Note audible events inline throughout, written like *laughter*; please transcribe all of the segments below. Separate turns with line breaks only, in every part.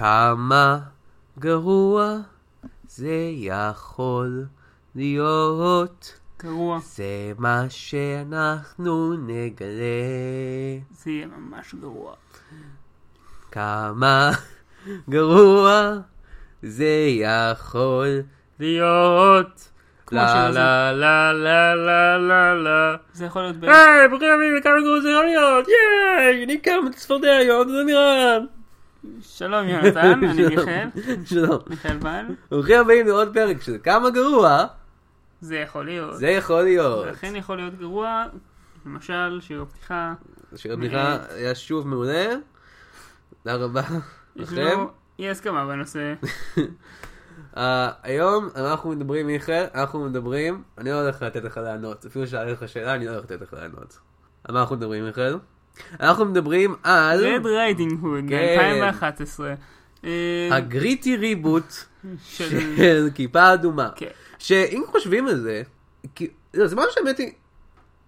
כמה גרוע זה יכול להיות.
גרוע.
זה מה שאנחנו נגלה.
זה יהיה ממש גרוע.
כמה גרוע זה יכול להיות.
כמו
לה
השיר הזה.
לה לה לה לה לה לה.
זה יכול להיות ב...
היי, ברוכים הבאים לכמה גרוע זה יכול להיות. ייי, אני קם צפרדע היום, זה נראה.
שלום יונתן, אני
*laughs*
מיכאל,
שלום.
מיכאל בל.
ברוכים הבאים לעוד פרק של כמה גרוע
זה יכול להיות.
זה יכול להיות.
זה אכן יכול להיות גרוע. למשל, שיר הפתיחה.
שיר הבדיחה היה שוב מעולה. תודה רבה
יש
לכם.
לנו אי הסכמה
*laughs*
בנושא.
אה, היום אנחנו מדברים, מיכאל, אנחנו מדברים, אני לא הולך לתת לך לענות, אפילו שאלתי לך שאלה, אני לא הולך לתת לך לענות. על מה אנחנו מדברים, מיכאל? אנחנו מדברים על
רד ריידינג הוד,
כן.
2011. אה,
הגריטי ריבוט
של...
*laughs* של כיפה אדומה.
כן.
שאם חושבים על זה, כי- לא, זה משהו שהאמת היא,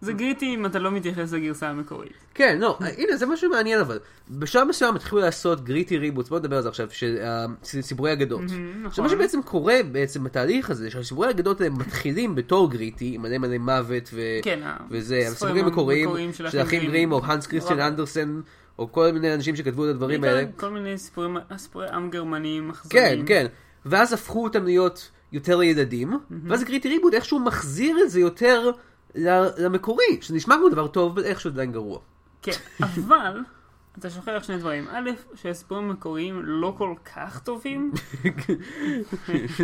זה גריטי אם אתה לא מתייחס לגרסה המקורית.
כן, לא, הנה, זה משהו מעניין אבל. בשלב מסוים התחילו לעשות גריטי ריבוץ, בואו נדבר על זה עכשיו, של אה, ס- סיפורי אגדות.
מהמם,
עכשיו,
נכון.
מה שבעצם קורה בעצם בתהליך הזה, שהסיפורי האגדות האלה מתחילים בתור גריטי, עם מלא מלא מוות ו...
כן,
וזה,
הספרים
הסיפורים המקוריים של האחים גרים, או הנס כריסטיאן
נורא.
אנדרסן, או כל מיני אנשים שכתבו את הדברים האלה.
נכון. בעיקר כל מיני סיפורים, סיפורי עם גרמנים,
כן,
אכזריים.
כן. ואז הפכו אותם להיות יותר לילדים, ואז גריטי ריבוד איכשהו מחזיר את זה יותר ל- למקורי, שנשמע כמו דבר טוב, אבל איכשהו עדיין גרוע.
כן, אבל אתה שוכח שני דברים. א', שהסיפורים המקוריים לא כל כך טובים.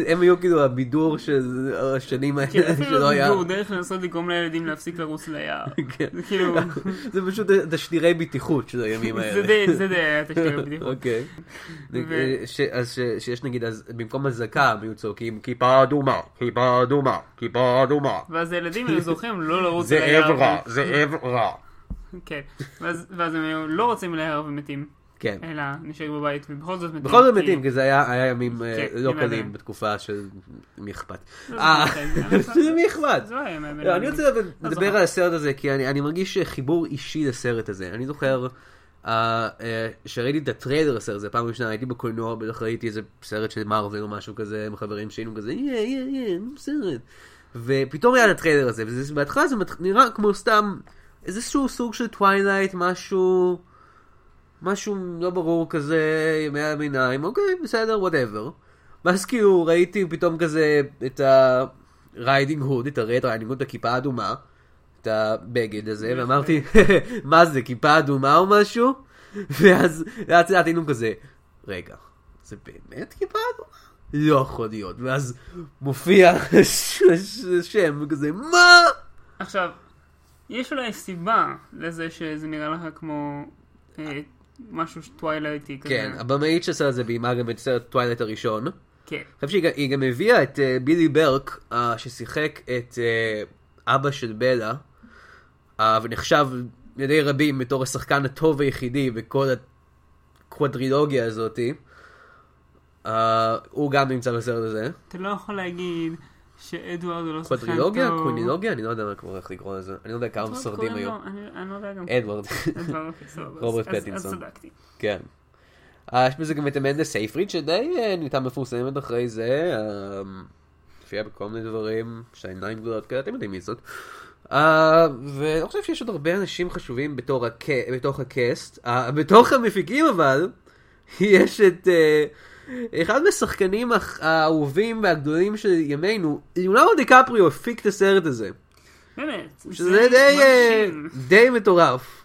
הם היו כאילו הבידור של השנים *laughs*
כן,
האלה
אפילו
שלא היה.
זו דרך לנסות לגרום לילדים להפסיק לרוץ ליער.
כן.
זה
*laughs*
כאילו,
זה פשוט תשדירי בטיחות של הימים האלה.
זה די, זה די
*laughs*
היה תשתיות בדיחות.
אוקיי. אה,
ו-
ש- אז ש- שיש נגיד, אז במקום אזעקה הם היו צועקים כיפה אדומה, כיפה אדומה, כיפה אדומה.
ואז הילדים היו זוכרים לא לרוץ
זה
ליער.
עב רע, זה עב רע.
כן, ואז ואז הם היו לא רוצים ליער ומתים,
כן.
אלא נשארים בבית, ובכל זאת מתים.
בכל זאת
כי-
מתים, כי זה היה היה ימים אה,
אוקיי. כן,
לא
ימים
קלים
עדיין. לא,
בתקופה של מי אכפת.
זה
אה,
מי אכפת.
*laughs* זה מי אכפת.
זה לא היה מהבן
לא, אני
אדם.
רוצה לדבר
זוכר.
על הסרט הזה, כי אני אני מרגיש חיבור אישי לסרט הזה. אני זוכר אה, אה, שראיתי את הטריילר לסרט הזה פעם ראשונה, הייתי בקולנוע, בטח ראיתי איזה סרט של מארוול או משהו כזה, עם חברים שהיינו כזה, יא יא יא, סרט. ופתאום היה את הטריילר הזה, ובהתחלה זה מת- נראה כמו סתם איזשהו סוג של טווילייט, משהו... משהו לא ברור כזה, ימי הביניים, אוקיי, בסדר, וואטאבר. ואז כאילו ראיתי פתאום כזה את הריידינג הוד, את הרייט ריידינג הוד, את הכיפה האדומה, את הבגד הזה, ואמרתי, *laughs* מה זה, כיפה אדומה או משהו? ואז לאט לאט היינו כזה, רגע, זה באמת כיפה אדומה? לא יכול להיות. ואז מופיע *laughs* השם, וכזה, מה?
עכשיו, יש אולי סיבה לזה שזה נראה לך כמו אה, משהו טווילייטי כזה.
כן, הבמאית שעשה את זה ביימה גם את סרט טווילייט הראשון.
כן.
אני חושב שהיא גם- היא גם הביאה את אה, בילי ברק, אה, ששיחק את אה, אבא של בלה, אה, ונחשב על ידי רבים בתור השחקן הטוב היחידי בכל הקוודרילוגיה הזאתי. אה, הוא גם נמצא בסרט הזה.
אתה לא יכול להגיד שאדוארד הוא לא שחקן טוב.
קוודרילוגיה? קוודרילוגיה? אני לא יודע מה קורה, איך לקרוא לזה. אני לא יודע כמה
טוב,
מסרדים
קוראים
היו.
לו- אני אני לא יודע גם.
אדוארד,
אדוארד, אוקיי, סבבה.
רוברט
אז- אז-
פטינסון.
אז צדקתי.
כן. אה, יש בזה גם את אמנדה סייפריד שדי אה, נהייתה מפורסמת אחרי זה. אה, הופיעה בכל מיני דברים, שהעיניים גדולות כאלה, אתם יודעים מי זאת. אה, ואני לא חושב שיש עוד הרבה אנשים חשובים בתור הק... בתוך הקאסט. אה, בתוך המפיקים אבל, יש את אה, אחד מהשחקנים הח- האהובים והגדולים של ימינו, ליאונרדו דיקפריו הפיק את הסרט הזה.
באמת.
שזה די, אה,
מרשים.
די מטורף.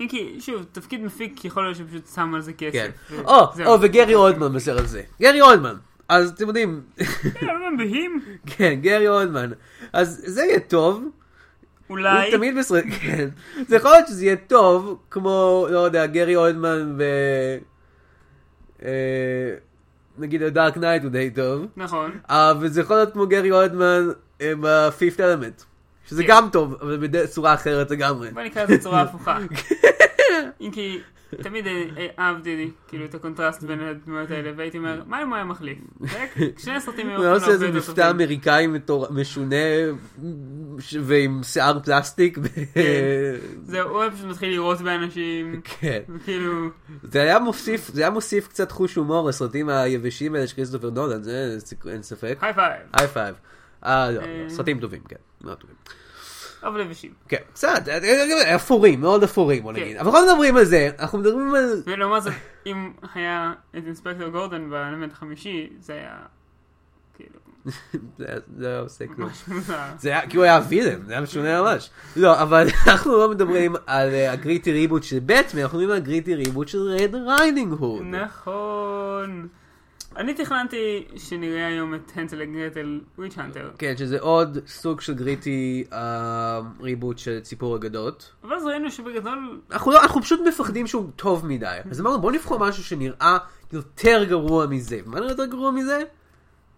אם כי, שוב, תפקיד מפיק יכול להיות שפשוט שם על זה
כן.
כסף. ו-
או,
זהו.
או, וגרי אולדמן בסרט הזה. גרי אולדמן. אז אתם יודעים, *laughs*
כן, אבל מבהים.
כן, גרי אולדמן. אז זה יהיה טוב. הוא
אולי.
תמיד בסרט, *laughs* כן. זה יכול להיות שזה יהיה טוב, כמו, לא יודע, גרי אולדמן ו... אה, נגיד, הדארק נייט הוא די טוב.
נכון.
אה, וזה יכול להיות כמו גרי אולדמן אה, ב-Fifth Element. שזה
כן.
גם טוב, אבל בצורה אחרת לגמרי.
בוא נקרא לזה בצורה
*laughs*
הפוכה. אם כי תמיד אה, אה, אהבתי כאילו את הקונטרסט בין הדמויות האלה, והייתי אומר, מה אם הוא היה
*laughs*
מחליף? זה- שני הסרטים היו
הוא היה
יכולים
עושה איזה
הרבה יותר
מבטא
טובים.
אמריקאי מטור- משונה ש- ועם שיער פלסטיק. ו-
כן. זהו, הוא היה פשוט מתחיל לירות באנשים,
כן.
וכאילו,
זה היה מוסיף, זה היה מוסיף קצת חוש הומור לסרטים היבשים האלה של כריסטופר נולן, זה אין סיכ- אין ספק.
היי פייב,
היי פייב. אה, לא, לא,
אה.
סרטים טובים, כן. מאוד טובים.
אבל לבשים.
כן, קצת, אה, אה, אפורים, מאוד אפורים, בוא
כן.
נגיד. אבל לא מדברים על זה, אנחנו מדברים על... *laughs*
ולעומת זאת, אם היה את אינספקטור גורדון באלמנט החמישי, זה היה, כאילו,
זה זה לא עושה כלום.
ממש מוזר.
זה היה, כי הוא היה וילן, זה היה משונה ממש. לא, אבל *laughs* אנחנו לא מדברים על אה, הגריטי ריבוט של בטמן, אנחנו מדברים על הגריטי ריבוט של רד ריינינג הוד.
נכון. אני תכננתי שנראה היום את הנטל וגרטל וויץ' הנטר,
כן, שזה עוד סוג של גריטי אה, ריבוט של ציפור אגדות.
אבל אז ראינו שבגדול,
אנחנו, לא, אנחנו פשוט מפחדים שהוא טוב מדי. אז אמרנו, בוא נבחור משהו שנראה יותר גרוע מזה. מה נראה יותר גרוע מזה?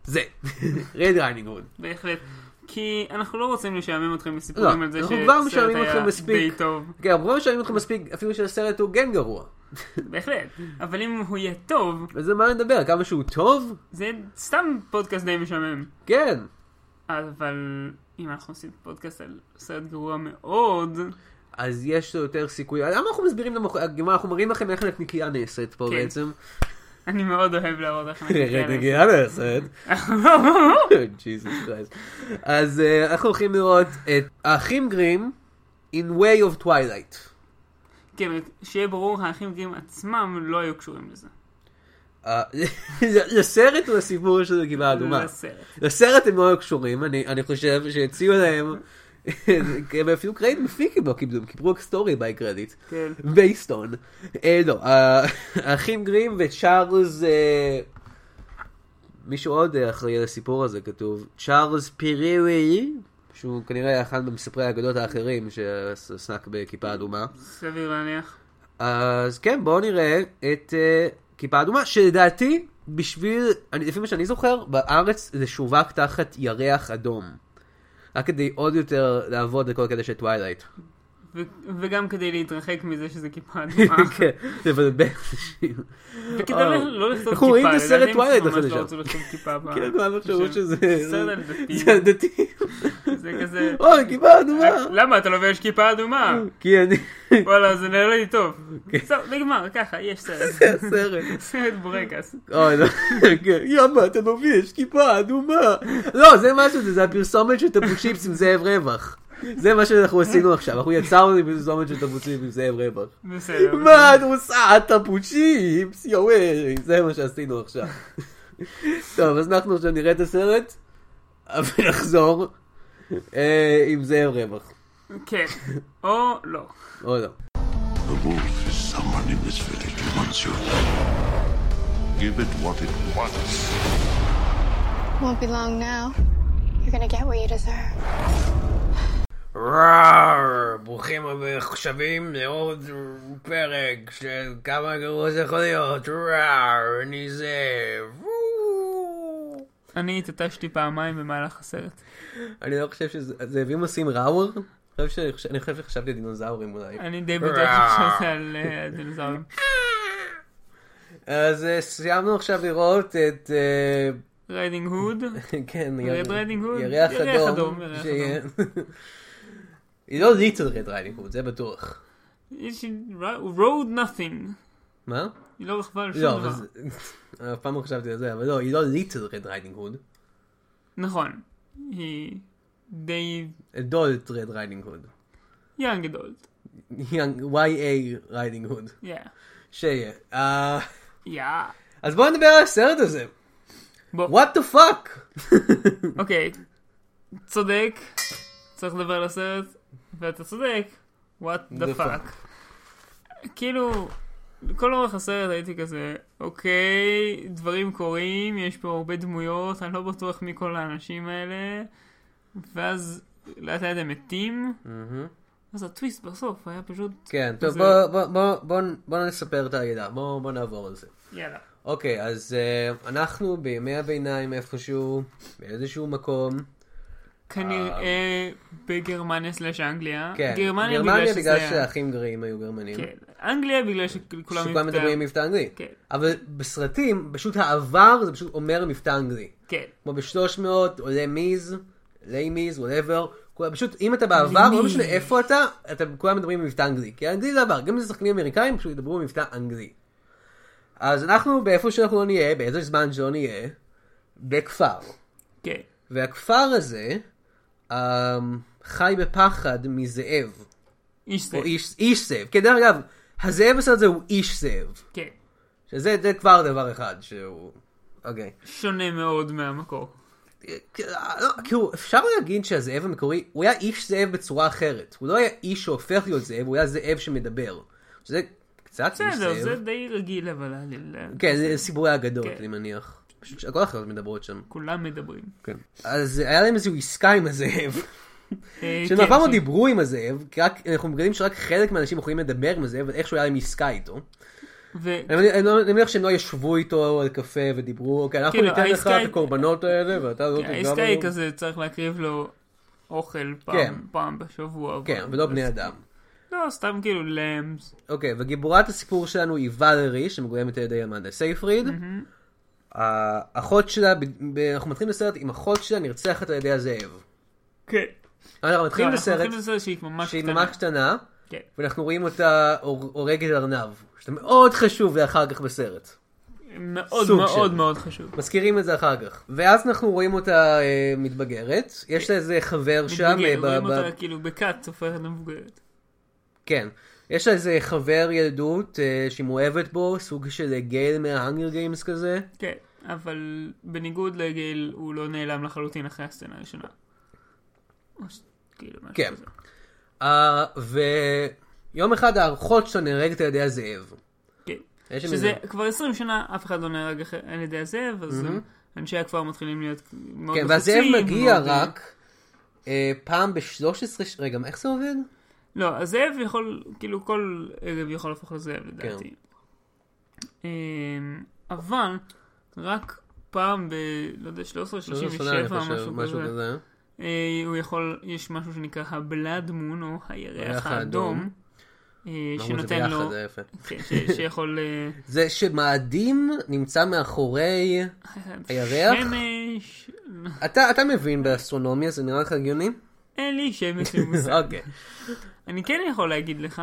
זה. *laughs* רד ריינינג הוד.
בהחלט, כי אנחנו לא רוצים לשעמם אתכם בסיפורים
לא,
על זה
אנחנו כבר משעממים אתכם
היה
מספיק.
די טוב,
כן, אבל לא משלמים אתכם מספיק, אפילו שהסרט הוא כן גרוע.
בהחלט, אבל אם הוא יהיה טוב,
אז על מה נדבר? כמה שהוא טוב?
זה יהיה סתם פודקאסט די משעמם.
כן.
אבל אם אנחנו עושים פודקאסט על סרט גרוע מאוד,
אז יש לו יותר סיכוי. למה אנחנו מסבירים למוכרים? אנחנו מראים לכם איך הנקניקייה נעשית פה
כן.
בעצם.
אני מאוד אוהב להראות איך אנחנו כאלה.
הנקניקייה נעשית. *laughs* Jesus Christ. אז אה, אנחנו הולכים לראות את האחים גרים in way of twilight.
*laughs* כן, רק שיהיה ברור, האחים גרים עצמם לא היו קשורים לזה.
אה, *laughs* לסרט או לסיפור של הגבעה האדומה?
לסרט.
לסרט הם לא היו קשורים, אני אני חושב שהציעו להם, *laughs* הם אפילו קרדיט מפיק הם לא קיבלו, הם קיבלו רק סטורי ביי קרדיט. *laughs*
כן.
based on. אה, לא, אה, האחים גרים וצ'ארלס... אה, מישהו עוד אה, אחראי על הסיפור הזה כתוב, צ'ארלס פירירי, שהוא כנראה אחד ממספרי האגדות האחרים שעסק בכיפה אדומה.
סביר להניח.
אז כן, בואו נראה את אה, כיפה אדומה, שלדעתי, בשביל, אני, לפי מה שאני זוכר, בארץ זה שווק תחת ירח אדום. רק כדי עוד יותר לעבוד לכל הקטע של טווילייט.
ו- וגם כדי להתרחק מזה שזה
*laughs*
כיפה אדומה.
כן, לבלבל אנשים.
וכדי
אה.
לא- לא לכתוב
אנחנו
כיפה,
רואים את הסרט
לדעתי הם
טווילייט
ממש
אחרי
לא
זה.
רצו לכתוב
*laughs*
כיפה. ב-
כאילו, כולם יחשבו שזה...
סרט דתי.
זה הדתי.
זה
*laughs*
כזה...
אוי, כיפה אדומה.
למה אתה לובש כיפה
*laughs*
אדומה?
כי אני...
וואלה, זה נראה לי טוב.
כן.
טוב, נגמר, ככה, יש סרט.
הסרט.
סרט *laughs* בורקס.
אוי, לא. כן. יאמה, אתה לובש כיפה אדומה. לא, זה משהו, זה- זה הפרסומת של טבו צ'יפס עם זאב רווח. זה מה שאנחנו עשינו עכשיו, אנחנו יצרנו פרסומת של טבו צ'יפס עם זאב רווח.
בסדר.
מה את עושה? את טבו צ'יפס, יואי, זה מה שעשינו עכשיו. טוב, אז אנחנו עכשיו נראה את הסרט, ונחזור אה, עם זאב רווח.
כן. או לא.
או לא.
The wolf is someone in this village who wants you. Give it what it wants.
Won't be long now. You're gonna get what you deserve.
רער, ברוכים המחשבים לעוד פרק של כמה גרוע זה יכול להיות, רער, אני זה... וואו.
אני התעטשתי פעמיים במהלך הסרט.
אני לא חושב שזה... זאבים עושים ראוור? אני חושב ש- אני חושב שחשבתי דינוזאורים אולי.
אני די בטוח שחשבת על אה, הדינוזאורים.
אז אה, סיימנו עכשיו לראות את... אה, *laughs*
ריידינג הוד.
כן,
רד ריידינג הוד?
ירח
ירח
אדום.
אדום, ירח
שיהיה- היא לא ליטל רד ריידינג הוד, זה בטוח.
יש- road nothing.
מה?
היא לא רכבה על שום
לא, אבל
דבר.
זה... *laughs* אף פעם לא חשבתי על זה, אבל לא, היא לא ליטל רד ריידינג הוד.
נכון. היא די
adult red riding hood.
יאנג אדולט.
young YA riding hood.
יא.
שיהיה. אה,
יא.
אז בואו נדבר על הסרט הזה.
בוא.
What the fuck?
*laughs* אוקיי. צודק. צריך לדבר על הסרט. ואתה צודק. what
The
the fuck. כאילו, כל אורך הסרט הייתי כזה, אוקיי, דברים קורים, יש פה הרבה דמויות, אני לא בטוח מי כל האנשים האלה, ואז לאט לאט הם מתים, אז הטוויסט בסוף היה פשוט,
כן, טוב,
זה-
בואו בוא, בוא, בוא, בוא נספר את העלילה, בואו בוא נעבור על זה.
יאללה.
אוקיי, אז אה, אנחנו בימי הביניים איפשהו, באיזשהו מקום,
כנראה בגרמניה סלאש אנגליה.
אה. כן.
גרמניה
בגלל
שזה היה-
שהאחים גרים היו גרמנים.
כן. אנגליה בגלל שכולם
שכולם מדברים מבטא אנגלי.
כן.
אבל בסרטים, פשוט העבר זה פשוט אומר מבטא אנגלי.
כן.
כמו ב-300, עולה מיז, עולי מיז, וואטאבר. פשוט אם אתה בעבר, לא משנה איפה אתה, אתה כולם מדברים במבטא אנגלי. כי האנגלי זה עבר, גם אם זה שחקנים אמריקאים, פשוט ידברו במבטא אנגלי. אז אנחנו, באיפה שאנחנו לא נהיה, באיזה זמן שלא נהיה, בכפר.
כן.
והכפר הזה אמ, חי בפחד מזאב,
איש זה.
או איש, איש זאב. כן, דרך אגב, הזאב בסרט הזה הוא איש זאב.
כן.
שזה זה כבר דבר אחד שהוא... אוקיי.
שונה מאוד מהמקור.
לא, כאילו, אפשר להגיד שהזאב המקורי, הוא היה איש זאב בצורה אחרת. הוא לא היה איש שהופך להיות זאב, הוא היה זאב שמדבר. שזה קצת איש
בסדר, זה
זאב.
די רגיל אבל לא- העליל.
כן, זה סיפורי אגדות,
כן.
אני מניח. פשוט שכל החברות מדברות שם.
כולם מדברים.
אז היה להם איזו עסקה עם
*laughs*
הזאב.
אה,
שהם
כן,
אף פעם לא
ש-
דיברו עם הזאב, כי רק, אנחנו מגלים שרק חלק מהאנשים יכולים לדבר עם הזאב, אבל איכשהו היה להם עסקה איתו.
ו-
אני מניח- אני לא- אני מניח שהם לא ישבו איתו על קפה ודיברו, אוקיי, אנחנו
כאילו,
ניתן לך
העסקה
את
היא- כן,
הקורבנות האלה, ואתה לא תפגע בנו.
העסקה היא אה, כזה, צריך להקריב לו אוכל פעם-
כן.
פעם בשבוע.
כן,
אבל-
ולא בני אדם.
לא, סתם כאילו למס.
אוקיי, וגיבורת הסיפור שלנו היא ולרי, שמגוימת על ידי אמנדה סייפריד. האחות שלה, ב- ב- אנחנו מתחילים לסרט עם אחות שלה נרצחת על ידי הזאב.
כן.
אנחנו
לא,
מתחילים
אנחנו
לסרט
הולכים לסרט שהיא ממש
שהיא
קטנה.
ממש קטנה,
כן.
ואנחנו רואים אותה הור- הורגת ארנב, שזה מאוד חשוב לאחר כך בסרט.
כן, מאוד
סוג
מאוד
של.
מאוד חשוב.
מזכירים את זה אחר כך. ואז אנחנו רואים אותה אה, מתבגרת, יש לה איזה חבר שם, אה,
מתבגר,
ב-
רואים
ב-
אותה כאילו בכת הופכת למבוגרת.
כן. יש לה איזה חבר ילדות אה, שהיא מאוהבת בו, סוג של אה, גייל מההאנגר גיימס כזה.
כן, אבל בניגוד לגיל, הוא לא נעלם לחלוטין אחרי הסצנה הראשונה. או ש- כאילו, משהו
כן.
כזה.
אה, ויום אחד האחות שלו נהרגת על ידי הזאב.
כן.
יש שם
שזה
איזה-
כבר 20 שנה, אף אחד לא נהרג אחרי- על ידי הזאב, אז אנשי הכפר מתחילים להיות מאוד
כן, והזאב
לחוצים,
מגיע
מאוד- אה,
רק אה, פעם ב-13... רגע, איך זה עובד?
לא, הזאב יכול, כאילו כל ערב יכול להפוך
כן.
לזאב לדעתי. אמ, אבל רק פעם ב... לא יודע, 13, 37, משהו כזה, אה, הוא יכול, יש משהו שנקרא הבלאד מון, או הירח
הירח
האדום,
האדום.
אה,
אמרו את זה
שנותן לו,
ביחד, אה. זה יפה.
כן,
*laughs*
ש- שיכול, אה, *laughs*
זה שמאדים נמצא מאחורי... הירח?
שמש,
אתה אתה מבין באסטרונומיה, זה נראה לך הגיוני?
אין לי
*laughs*
שמש ממוסד.
אוקיי.
אני כן יכול להגיד לך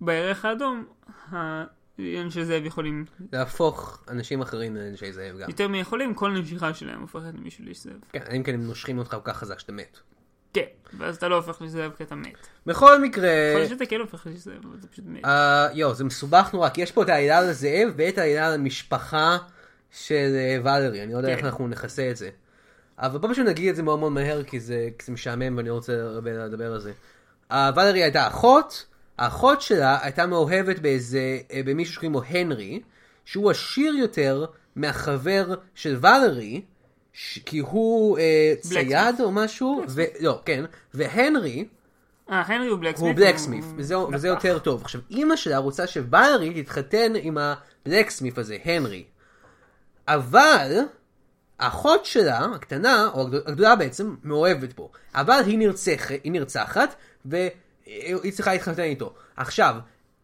שבירח האדום, ה- אנשי זאב יכולים
אה. להפוך אנשים אחרים לאנשי זאב גם.
יותר מיכולים, כל נשיכה שלהם הופכת למישהו לזאב.
כן, אלא אם כן הם נושכים אותך כל כך חזק שאתה מת.
כן, ואז אתה לא הופך לזאב כי אתה מת.
בכל מקרה...
יכול להיות שאתה כן הופך לזאב, אבל אתה פשוט מת.
אה, יואו, זה מסובך נורא, כי יש פה את העלילה על הזאב ואת העלילה על המשפחה של אה, ולרי, אני לא יודע
כן.
איך אנחנו נכסה את זה. אבל בוא פשוט נגיד את זה מאוד מאוד מהר, כי זה, כי זה משעמם ואני לא רוצה הרבה לדבר על זה. אה, ולרי הייתה אחות, האחות שלה הייתה מאוהבת באיזה, אה, במישהו שקוראים לו הנרי, שהוא עשיר יותר מהחבר של ולרי, ש... כי הוא אה,
בלקסמית'.
צייד או משהו, ו... לא, כן, והנרי,
אה, הנרי הוא בלקסמית.
הוא בלקסמיף, וזה, וזה יותר טוב. עכשיו, אימא שלה רוצה שוואלרי תתחתן עם הבלקסמיף הזה, הנרי. אבל, האחות שלה, הקטנה, או הגדול- הגדולה בעצם, מאוהבת בו. אבל היא נרצחת, היא נרצחת, והיא צריכה להתחתן איתו. עכשיו,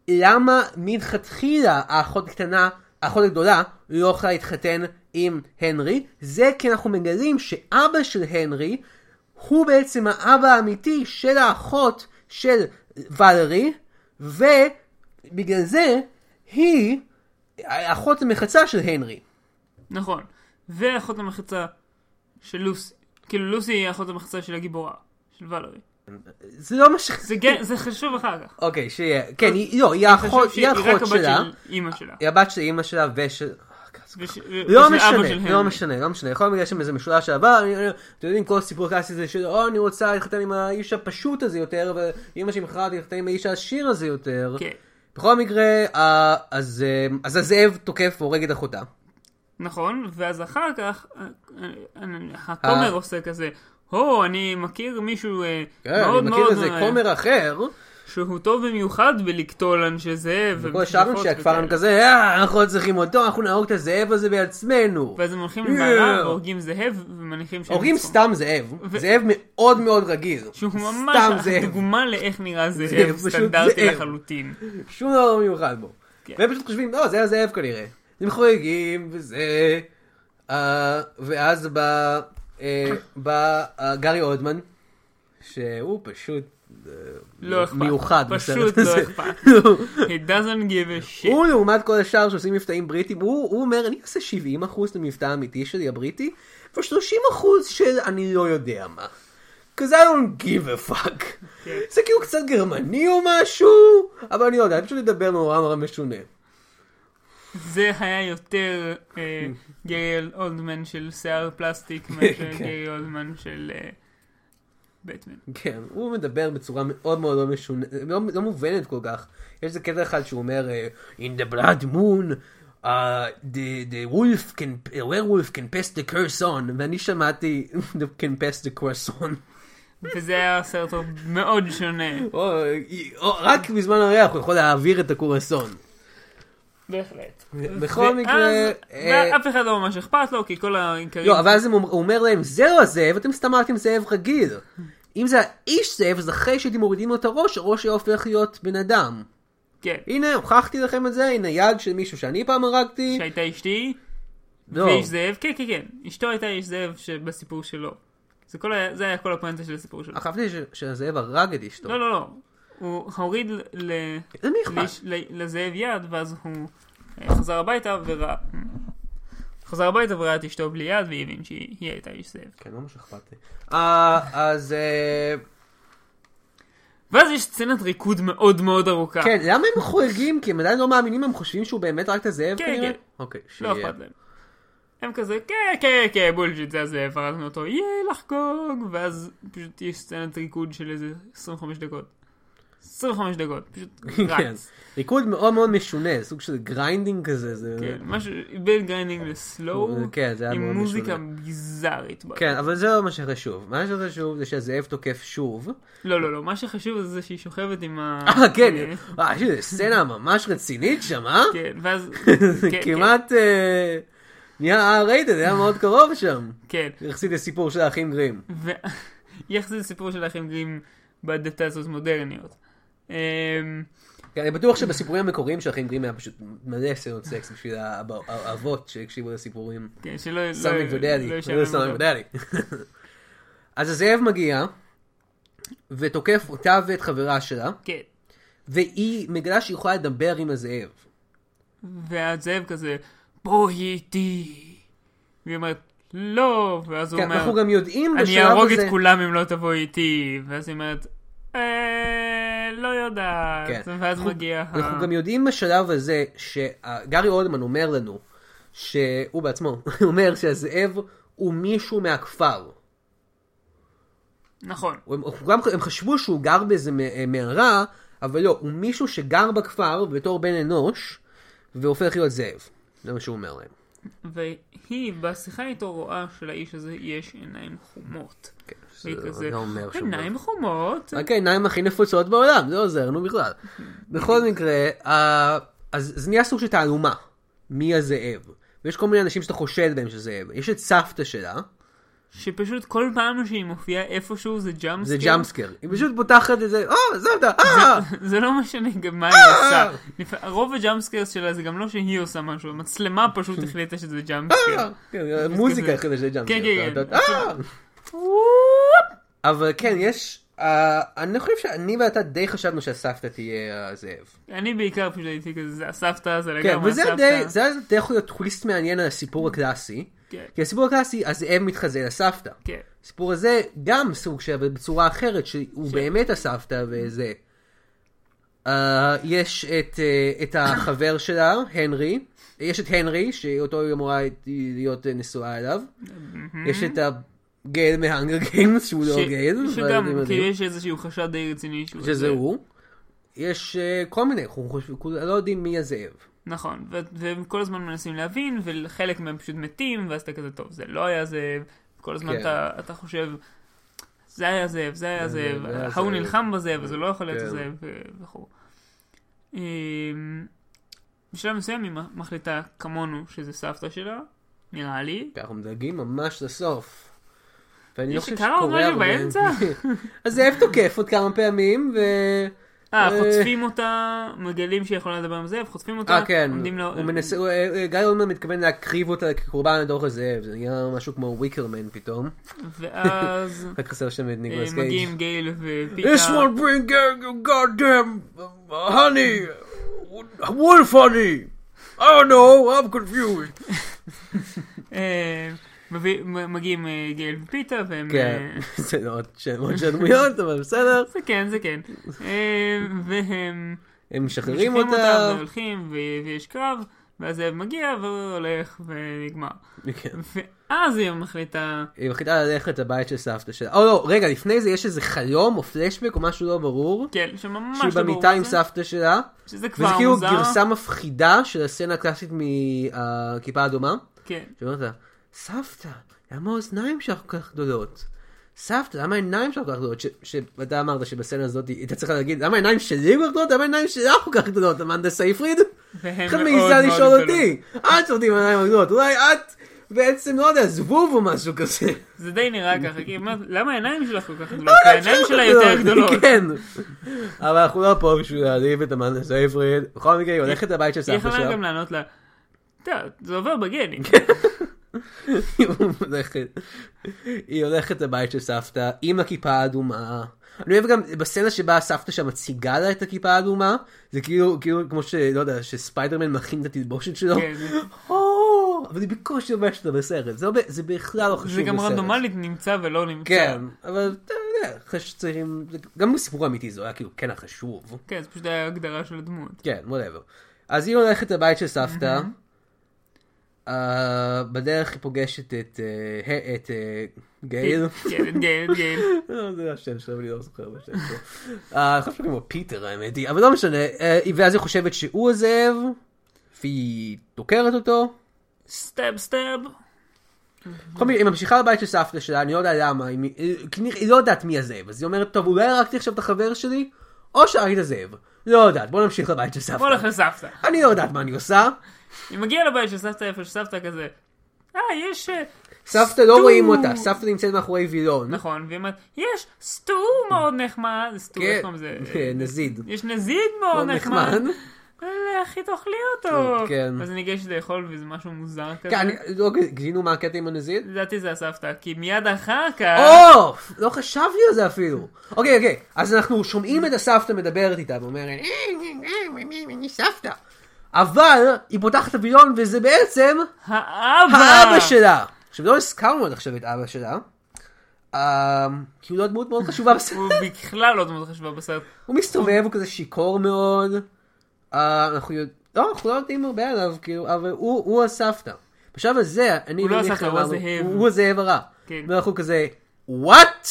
למה מלכתחילה האחות הקטנה, האחות הגדולה, לא יכולה להתחתן עם הנרי? זה כי אנחנו מגלים שאבא של הנרי, הוא בעצם האבא האמיתי של האחות של ולרי, ובגלל זה היא האחות המחצה של הנרי.
נכון. ואחות המחצה של לוסי. כאילו, לוסי היא אחות המחצה של הגיבורה, של ולרי.
זה לא מה ש...
זה גן- זה חשוב אחר כך.
אוקיי, שיהיה. כן, היא, לא, היא האחות,
חשוב
היא
שהיא רק
האחות
הבת
שלה.
של אימא שלה.
היא הבת של אימא שלה ושל...
וש-
לא
וזה אבא של
משנה, לא
הנרי.
משנה, לא משנה, יכול להיות בגלל שם איזה משולש שעבר, אני- אני- אתם יודעים, כל סיפור קלאסי זה של, או, אני רוצה להתחתן עם האיש הפשוט הזה יותר, ואימא שלי מכרעת להתחתן עם האיש העשיר הזה יותר.
כן,
בכל מקרה, אה, אז אה, אז הזאב תוקף והורג את אחותה.
נכון, ואז אחר כך, אה, אה, הכומר
אה.
עושה כזה, הו, אני מכיר מישהו אה,
כן,
מאוד
אני מכיר
מאוד
איזה
אה,
כומר אחר,
שהוא טוב במיוחד בלקטול אנשי זאב.
וכל השאר
ובדיחות
שהכפר הם
וכאלה.
כזה, "אה, אנחנו לא צריכים אותו, אנחנו נהרוג את הזאב הזה בעצמנו.
ואז הם הולכים
Yeah.
למעלה והורגים זאב ומניחים שהם
הורגים
ניצחו.
סתם זאב, זאב מאוד מאוד רגיל.
שהוא
סתם
ממש
זאב,
דוגמה לאיך נראה
זאב,
זאב,
פשוט
סטנדרטי
זאב.
לחלוטין.
שום דבר לא מיוחד בו.
כן.
והם פשוט חושבים, לא, זה הזאב כנראה. הם חוגגים וזה... אה, ואז בא אה, בא, אה, גארי אודמן, שהוא פשוט אה,
לא אכפת.
מיוחד
פשוט
*laughs* בסרט
לא
הזה.
אכפת. It doesn't give a shit.
הוא לעומת כל השאר שעושים מבטאים בריטים, הוא, הוא אומר, אני אעשה 70 אחוז את המבטא האמיתי שלי הבריטי, ו-30 אחוז של אני לא יודע מה. Cause I don't give a fuck.
כן.
זה כאילו קצת גרמני או משהו, אבל אני לא יודע, אני פשוט מדבר נורא נורא משונה.
זה היה יותר אה, גרי אולדמן של שיער
*laughs*
פלסטיק
כן.
מאשר גרי אולדמן של אה, בטמן.
כן, הוא מדבר בצורה מאוד מאוד לא משונה, לא, לא מובנת כל כך. יש איזה קטע אחד שהוא אומר, אה, In the blood moon, uh, the, the wolf can, the werewolf can pass the curse on, ואני שמעתי, *laughs* can pass the curse on.
וזה היה סרט מאוד שונה.
או, או, אה, רק בזמן הריח הוא יכול להעביר את הקורסון.
בהחלט.
בכל מקרה... אה,
אף אחד לא ממש אכפת לו, כי כל העיקרים...
לא, אבל אז הם אומר- הוא אומר להם, זה לא הזאב, אתם סתם אמרתם זאב רגיל. אם זה האיש זאב, אז אחרי שהייתם מורידים לו את הראש, הראש היה הופך להיות בן אדם.
כן.
הנה, הוכחתי לכם את זה, הנה יד של מישהו שאני פעם הרגתי.
שהייתה אשתי,
לא,
ואיש זאב, כן, כן, כן. אשתו הייתה איש זאב שבסיפור שלו. זה כל ה- זה היה כל הפואנטה של הסיפור שלו.
חשבתי ש- שהזאב הרג את אשתו.
לא, לא, לא. הוא הוריד ל...
למי אכפת?
לאיש- ל- לזאב יד, ואז הוא אה, חזר הביתה וראה... חזר הביתה וראה את אשתו בלי יד, והיא הבין שהיא היא הייתה איש זאב.
כן, לא ממש אכפת לי. אה, אז... אה,
ואז יש סצנת ריקוד מאוד מאוד ארוכה.
כן, למה הם חורגים? כי הם עדיין לא מאמינים, הם חושבים שהוא באמת רק את הזאב
כן,
כנראה?
כן.
אוקיי,
לא
שיהיה.
אכפת להם. הם כזה, כן, כן, כן, בולשיט, זה הזאב, הרגנו אותו, יהיה לחגוג, ואז פשוט יש סצנת ריקוד של איזה 25 דקות. 25 דקות,
*laughs*
פשוט
כן.
רץ.
ריקוד מאוד מאוד משונה, סוג של גריינדינג כזה, זה...
כן, משהו בין גריינינג לסלואו,
כן, זה היה מאוד
עם מוזיקה
משונה.
ביזארית.
כן, אבל זה לא מה שחשוב. מה שחשוב זה שהזאב תוקף שוב.
לא, לא, לא, מה שחשוב זה שהיא שוכבת עם ה...
אה,
*laughs*
כן,
אה,
אה, יש איזה סצנה ממש רצינית שם, אה?
כן,
*laughs*
ואז...
זה
כן,
כמעט אה, נהיה R-rated, היה מאוד קרוב שם.
כן, כן.
יחסית לסיפור של האחים גרים.
ו... *laughs* יחסית לסיפור של האחים גרים באדפטציות מודרניות. אמ,
כן, אני בטוח שבסיפורים המקוריים של האחים גרים היה פשוט מלא סצנות סקס בשביל האב- האבות שהקשיבו לסיפורים.
כן, שלא...
סמי
לא- לא
ודדי.
ישעמם
זה סמי
אותם.
ודדי. אז הזאב מגיע, ותוקף אותה ואת חברה שלה,
כן.
והיא מגלה שהיא יכולה לדבר עם הזאב.
והזאב כזה, בואי איתי. והיא אומרת, לא, ואז הוא
כן, אנחנו
אומר,
גם יודעים בשלב
אני
הזה...
אהרוג את כולם אם לא תבואי איתי. ואז היא אומרת, "אה, לא יודעת.
כן.
ואז מגיע ה...
אנחנו גם יודעים בשלב הזה שגארי אולדמן אומר לנו, שהוא בעצמו, הוא אומר שהזאב הוא מישהו מהכפר.
נכון.
הם, הם גם, הם חשבו שהוא גר באיזה מ- אה, מערה, אבל לא, הוא מישהו שגר בכפר בתור בן אנוש, והופך להיות זאב. זה מה שהוא אומר להם.
והיא בשיחה איתו רואה שלאיש הזה יש עיניים חומות.
כן,
והיא
זה
כזה, "כן,
לא אומר שום דבר.
עיניים חומות.
רק העיניים הכי נפוצות בעולם, זה עוזר, נו
*laughs*
בכלל. בכל מקרה, אה, אז זה נהיה סוג של תעלומה, מי הזאב. ויש כל מיני אנשים שאתה חושד בהם שזאב. יש את סבתא שלה,
שפשוט כל פעם שהיא מופיעה איפשהו זה ג'אמפ
זה ג'אמפסקר. היא פשוט פותחת את זה, אה, סבתא, אה!
זה לא משנה גם מה היא עושה. לפ- רוב הג'אמפסקיירס שלה זה גם לא שהיא עושה משהו, המצלמה פשוט החליטה שזה
כן. אה!
ג'אמפסקייר.
כן, מוזיקה אחרת של ג'אמפסקר.
כן, כן, כן.
אה! אבל כן, יש... אה, אני חושב שאני ואתה די חשבנו שהסבתא תהיה הזאב.
אני בעיקר פשוט הייתי כזה, זה הסבתא, זה
כן,
לגמרי
וזה די,
הסבתא.
זה היה די יכול להיות טוויסט מעניין על הסיפור הקלאסי.
כן.
כי הסיפור הקלאסי, הזאב מתחזה לסבתא.
כן.
הסיפור הזה גם סוג של, אבל בצורה אחרת, שהוא
כן.
באמת הסבתא וזה. אה, יש את, אה, את החבר שלה, הנרי. יש את הנרי, שאותו היא אמורה להיות אה, נשואה אליו. יש את הגייל מהאנגר גיימס, שהוא לא
ש-
גייל. אבל
שגם,
אתם יודעים.
כאילו יש איזשהו חשד די רציני שהוא...
שזה
זה.
הוא. יש אה, כל מיני, אנחנו חושבים- כולם לא יודעים מי הזאב.
נכון, ו- והם כל הזמן מנסים להבין, וחלק מהם פשוט מתים, ואז אתה כזה, טוב, זה לא היה זה, כל הזמן
כן.
אתה- אתה חושב... זה היה זאב, זה היה
זה היה
זאב,
זאב, זה היה
ההוא
זאב.
נלחם בזאב, אז הוא לא יכול להיות
כן.
הזאב ו- וכו'. אמ, בשלב מסוים היא מח- מחליטה כמונו שזה סבתא שלה, נראה לי.
כי אנחנו מדלגים ממש לסוף. ואני לא
יש-
חושב
קרה עוד
שקורה
משהו
הרבה.
באמצע?
*laughs* אז זאב תוקף עוד כמה פעמים, ו...
אה, חוטפים אותה, מגלים שהיא יכולה לדבר עם זאב, חוטפים אותה,
אה, כן.
עומדים לה...
הוא מנסה, הוא- אה, אה, גיא אולמן מתכוון להקריב אותה כקורבן לדור הזאב. זה נהיה משהו כמו וויקרמן פתאום. *laughs*
ואז
רק חסר שם את
אה,
ניקולס קייג'.
מגיעים גייל ופיקה.
This one bring gang of goddamn uh, honey, wolf honey. I don't know, I'm confused.
אה, מביא- מ- מגיעים אה, גייל ופיתה, והם...
כן, *laughs*
אה,
זה עוד שמות של דמויות, אבל בסדר.
זה כן, זה כן. אה, והם...
הם משחררים
משחררים
אותה.
והולכים, ו- ויש קרב, ואז זאב מגיע והולך ונגמר.
כן.
ואז היא מחליטה,
היא מחליטה ללכת לבית של סבתא שלה. או לא, רגע, לפני זה יש איזה חלום או פלשבק או משהו לא ברור.
כן, שממש
שהיא
לא ברור
במיטה עם
זה,
סבתא שלה.
שזה כבר
וזה כאילו
מוזר.
גרסה מפחידה של הסצנה הקלאסית מהכיפה האדומה.
כן.
שאומרת לה, סבתא, למה האוזניים שלך כל כך גדולות? סבתא, למה העיניים שלך כל כך גדולות? ש- שאתה אמרת שבסצנה הזאת היא הייתה צריכה להגיד, למה העיניים שלי כל כך גדולות? למה העיניים שלך כל כך גדולות? המהנדס היפריד?
והם
איך את
מאוד
מעיזה
מאוד
לשאול
גדולות.
אותי? את שולטת עם העיניים הגדולות, אולי את בעצם, לא יודע, זבוב או משהו כזה.
זה די נראה ככה, כי היא אומרת, למה העיניים שלך כל כך
לא,
גדולות? העיניים שלה יותר גדולות.
*laughs* כן. אבל אנחנו לא פה בשביל להעליב את המהנדס היפריד. בכל מקרה, היא הולכת לבית של
היא
סבתא
יכולה
שלה.
גם לענות לה, "טוב, זה עובר
*laughs*
בגנים.
כן, היא הולכת, היא הולכת לבית של סבתא עם הכיפה האדומה. אני אוהב גם בסצנה שבה סבתא שם מציגה לה את הכיפה האדומה, זה כאילו, כאילו כמו שלא יודע, שספיידרמן מכין את התלבושת שלו.
כן, זה-
*laughs* או, אבל היא בקושי לובשת אותה בסרט, זה, לא ב- זה בכלל לא חשוב
זה
בסרט.
גם רנדומלית נמצא ולא נמצא.
כן, אבל אתה יודע, חשצרים, גם בסיפור האמיתי זה היה כאילו כן החשוב.
כן, זה פשוט היה הגדרה של הדמות.
כן, וואטאבר. אז היא הולכת לבית של סבתא, אה, בדרך היא פוגשת את אה, ה- את, אה, גייל.
כן, גייל, גייל.
*laughs* לא, זה השם שלו, אני לא זוכר מה השם שלו. אה, אני חושב שקוראים לו פיטר האמת היא, אבל לא משנה. אה, ואז היא חושבת שהוא עוזב, והיא דוקרת אותו.
סטאב, סטאב.
בכל מקרה, היא ממשיכה לבית של סבתא שלה, אני לא יודע למה, היא מ- היא כנראה- היא לא יודעת מי הזאב, אז היא אומרת, טוב, אולי הרגתי עכשיו את החבר שלי, או שהרגתי את הזאב. לא יודעת, בוא נמשיך לבית של
בוא לך
סבתא.
לסבתא.
אני לא יודעת מה אני עושה.
היא מגיעה לבית של סבתא איפה שסבתא כזה, אה, יש... אה,
סבתא לא
סטו.
רואים אותה, סבתא נמצאת מאחורי וילון.
נכון, והיא אומרת, יש סטו מאוד נחמד, זה סטו, איך קוראים לזה?
כן, נזיד.
יש נזיד מאוד
מאוד
נחמד.
לא נחמד.
אה, אחי, תאכלי אותו.
כן.
אז אני ניגשת לאכול וזה משהו מוזר כזה.
כן, אני- לא גילינו מה הקטע עם הנזיד?
לדעתי זה הסבתא, כי מיד אחר כך...
או! לא חשבתי על זה אפילו. אוקיי, אוקיי. אז אנחנו שומעים את הסבתא מדברת איתה ואומרת, "אה, אה, אה, אה, אני סבתא. אבל היא פותחת את הווילון וזה בעצם
האבא!
האבא שלה. עכשיו, לא הזכרנו עד עכשיו את אבא שלה. אה, כי הוא לא דמות מאוד חשובה בסרט.
הוא בכלל לא דמות חשובה בסרט.
הוא מסתובב, הוא כזה שיכור מאוד. אה, אנחנו יודעים, לא, אנחנו לא יודעים הרבה עליו, כאילו, אבל הוא הוא הסבתא. בשלב הזה, אני
הוא לא
ומיקה
הסבתא, הוא
אמרנו,
הזאב.
הוא הזאב הרע.
כן.
ואנחנו כזה, וואט?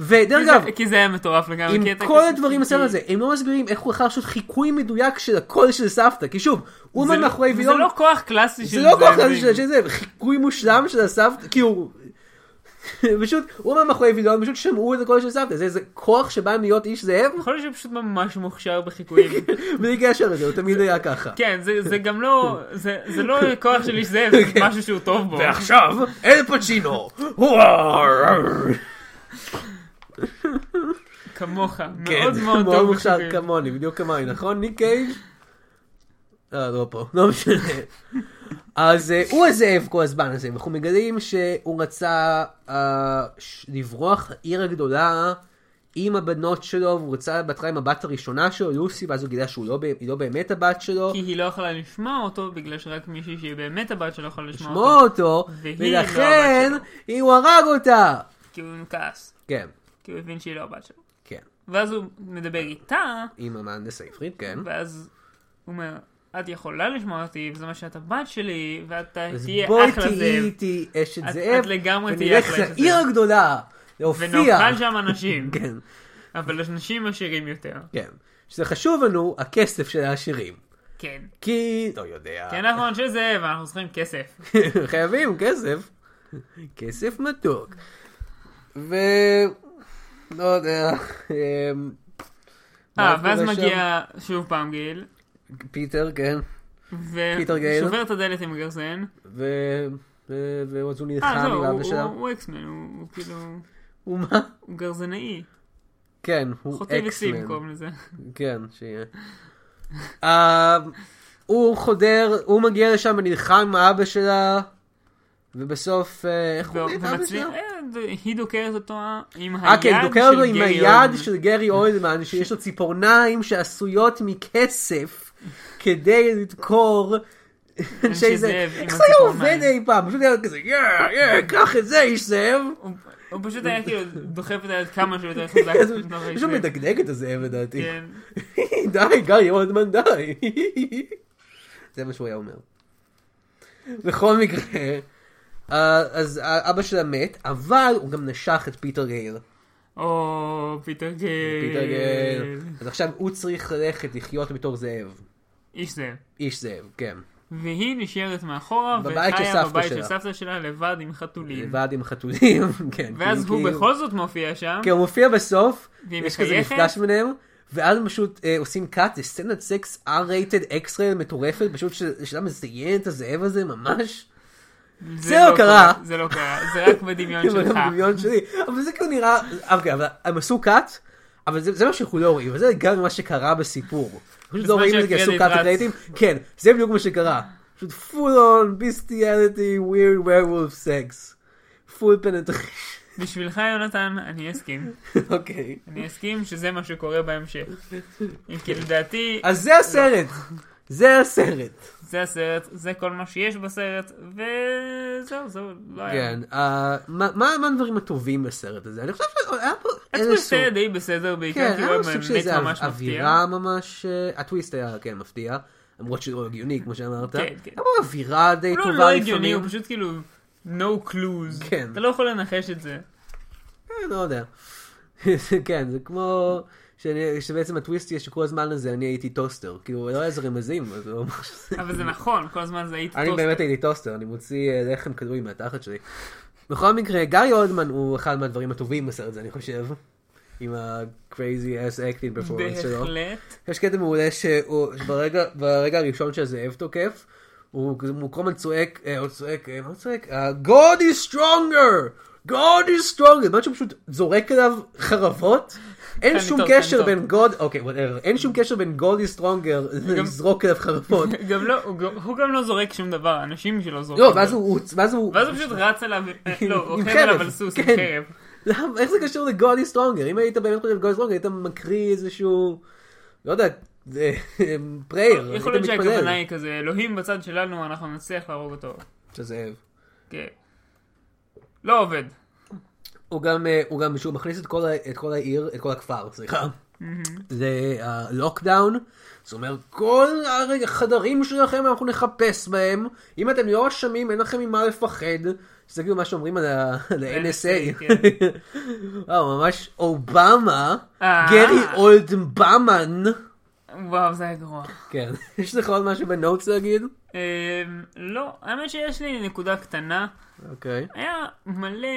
ודרך אגב,
כי זה היה מטורף לגמרי.
עם
כי אתה
כל
כזה-
הדברים בסרט הזה, הם לא מסבירים איך הוא יכול לעשות חיקוי מדויק של הקול של סבתא, כי שוב, הוא
זה
עומד
לא-
מאחורי
זה
וילון,
לא כוח קלאסי של
זה לא כל כך
זאבים.
של זה, חיקוי מושלם של הסבתא, כאילו, *laughs* פשוט, הוא עומד מאחורי וילון, פשוט שמעו את הקול של סבתא, זה איזה כוח שבא להיות איש זאב,
יכול להיות שהוא פשוט ממש מוכשר
*laughs*
בחיקויים.
בלי קשר לזה, הוא תמיד היה ככה.
כן, זה, זה גם לא, זה, זה
*laughs*
לא כוח של איש זאב, זה משהו שהוא טוב בו.
אוקיי. ועכשיו, אל פצ'ינו!
כמוך, מאוד
כן, *laughs*
מאוד
מאוד
טוב
מוכשר
בשביל.
כמוני, בדיוק כמוני, נכון? ניק קייג'? אה, לא פה, לא משנה. אז אה, הוא הזאב כל הזמן הזה, ואנחנו מגלים שהוא רצה אה, ש- לברוח לעיר הגדולה עם הבנות שלו, והוא רצה בהתחלה עם הבת הראשונה שלו, לוסי, ואז הוא גילה שהיא לא באמת הבת שלו.
כי היא לא יכולה לשמוע אותו, בגלל שרק מישהי שהיא באמת הבת שלו יכולה לשמוע
שמעו
אותו.
אותו,
והיא לא הבת
ולכן
שלו.
היא- הוא הרג אותה.
כי הוא כעס,
כן,
כי הוא הבין שהיא לא הבת שלו.
כן.
ואז הוא מדבר איתה,
עם המהנדס העברית, כן.
ואז הוא אומר, את יכולה לשמוע אותי, וזה מה שאת הבת שלי, ואת
אז
תהיה
בואי
אחלה
תהיי
זאב.
איתי אשת
את-
זאב.
את לגמרי תהיי
ונלך
אחלה אשת
לעיר
זאב.
הגדולה, להופיע.
ונאכל שם אנשים,
*laughs* כן,
אבל אנשים עשירים יותר.
כן. שזה חשוב לנו, הכסף של העשירים.
כן.
כי, לא יודע. *laughs*
כי אנחנו אנשי זאב, אנחנו צריכים כסף.
חייבים כסף. כסף מתוק. ו... לא יודע, אמ, מה
אה, ואז
קורה
מגיע שוב פעם גיל,
שם? פיטר, כן, פיטר גייל.
ושובר את הדלת עם הגרזן.
ו... ו- ואז הוא
אה,
נלחם עם
לא,
אבא
הוא-
שלה.
הוא- הוא אקסמן, הוא הוא כאילו...
הוא מה?
הוא גרזנאי.
כן, הוא
חוטא ביצים
אקסמן.
במקום לזה.
כן, שיהיה. אה, הוא חודר, הוא מגיע לשם ונלחם עם אבא שלה, ובסוף, אה, איך הוא מבין את אבא
ומצליח...
שלה?
אה, היא דוקרת אותו עם
אה, כן,
היד
דוקר לו
של
עם
גרי
היד
אולדמן.
של גרי
*laughs*
אולדמן, שיש לו ציפורניים שעשויות מכסף כדי לדקור אנשי
זאב
זה.
עם
איך זה היה עובד
הציפורניים.
אי פעם? פשוט היה כזה, יא, יא, קח את זה, איש זאב.
הוא- הוא פשוט היה כאילו דוחף את היד כמה
*laughs*
שיותר חזק.
אז
*laughs*
הוא-
דוחף את
כן, פשוט
*laughs* זה.
מדגדג את הזאב לדעתי.
כן.
*laughs* די, גיא אולדמן, די. *laughs* זה מה שהוא היה אומר. בכל מקרה, אה, אז אבא שלה מת, אבל הוא גם נשך את פיטר גייל.
או, פיטר גייל.
פיטר גייל. אז עכשיו הוא צריך ללכת לחיות בתור זאב.
איש זאב.
איש זאב, כן.
והיא נשארת מאחורה,
בבית של
וחיה
סבתא
בבית של
שלה.
סבתא שלה לבד עם חתולים.
לבד עם חתולים, *laughs* כן.
ואז
כי-
הוא
כי-
בכל זאת מופיע שם.
כן, הוא מופיע בסוף,
והיא
יש כזה
מחייכת.
מפגש ביניהם, ואז הם פשוט אה, עושים קאט, זה סצנת סקס R-rated X-rated מטורפת, פשוט ש- שלה מזיין את הזאב הזה ממש. זה לא קרה.
זה לא קרה, זה רק בדמיון
כאילו,
שלך.
בדמיון שלי. אבל זה כאילו נראה, אוקיי, אבל הם עשו קאט, אבל זה זה מה שאנחנו לא רואים, וזה גם מה שקרה בסיפור. פשוט לא
בזמן
רואים את זה כי עשו
שהקרדיט
קאט
רץ.
הקרדיטים, כן, זה בדיוק מה שקרה. פשוט full on bestiality weird werewolf sex. full penetration. *laughs*
בשבילך, יונתן, אני אסכים.
אוקיי.
אני אסכים שזה מה שקורה בהמשך. אם כי לדעתי,
אז זה הסרט. זה הסרט.
זה הסרט, זה כל מה שיש בסרט, וזהו, זהו, לא היה.
כן, אה, מה מה- מה הדברים הטובים בסרט הזה? אני חושב שהיה פה
זה
איזשהו...
סרט די בסדר, בעיקר
כן,
כי הוא
היה
היה
סוג של
באמת
איזה
ממש
או-
מפתיע.
אווירה ממש... אה, הטוויסט היה, כן, מפתיע. למרות שזה לא הגיוני, כמו שאמרת.
כן, כן.
היה פה אווירה די
הוא לא-
טובה
הוא
לפעמים.
לא הגיוני, הוא פשוט כאילו no clues.
כן.
אתה לא יכול לנחש את זה.
אה, לא יודע. *laughs* כן, זה כמו... שאני- שבעצם הטוויסט יהיה שכל הזמן הזה אני הייתי טוסטר. כאילו, לא היה איזה רמזים, אז הוא אמר
*laughs*
שזה...
אבל זה נכון, כל הזמן זה הייתי
אני
טוסט.
באמת הייתי טוסטר, אני מוציא אה, לחם כדורי מהתחת שלי. בכל מקרה, גיא אולדמן הוא אחד מהדברים הטובים בסרט הזה, אני חושב. עם ה-crazy ass acting performance שלו.
בהחלט.
יש קטע מעולה שהוא, שברגע ברגע הראשון שהזאב תוקף, הוא כזה- הוא כל הזמן צועק, אה, הוא צועק, אה, מה הוא צועק? אה, God is stronger! God is stronger! זאת שהוא פשוט זורק עליו חרבות? אין
אני
שום
כן, טוב,
קשר
אני
בין God, אוקיי, whatever, אין שום קשר בין God is stronger לזרוק עליו
*laughs*
חרבות.
גם לא, הוא גם- הוא גם לא זורק שום דבר, האנשים שלו זורקים.
לא, ואז הוא, הוא- ואז הוא,
ואז הוא פשוט רץ עליו, אה, לא, הוא
עם
רוכב
חרב,
עליו על סוס עם
כן.
חרב.
למה- איך זה קשור ל-God is stronger? אם היית באמת חושב ל-God is stronger, היית מקריא איזשהו, לא יודע, אה, *laughs* prayer, היית
יכול להיות
מתפלל.
שהכוונה היא כזה, אלוהים בצד שלנו, אנחנו נצליח להרוג אותו.
של זאב.
כן. לא עובד.
הוא גם, אה, הוא גם, שהוא מכניס את כל, ה- את כל העיר, את כל הכפר, סליחה. זה הלוקדאון, זה אומר כל הר- החדרים שלכם אנחנו נחפש בהם, אם אתם לא אשמים אין לכם ממה לפחד, זה כאילו מה שאומרים *laughs* על
NSA,
ה-NSA.
כן.
*laughs* אה, ממש אובמה,
אה.
גרי אולדבמן,
וואו, זה היה גרוע.
כן, *laughs* יש לך עוד משהו בנוטס להגיד?
אמ, לא, האמת שיש לי נקודה קטנה.
אוקיי.
היה מלא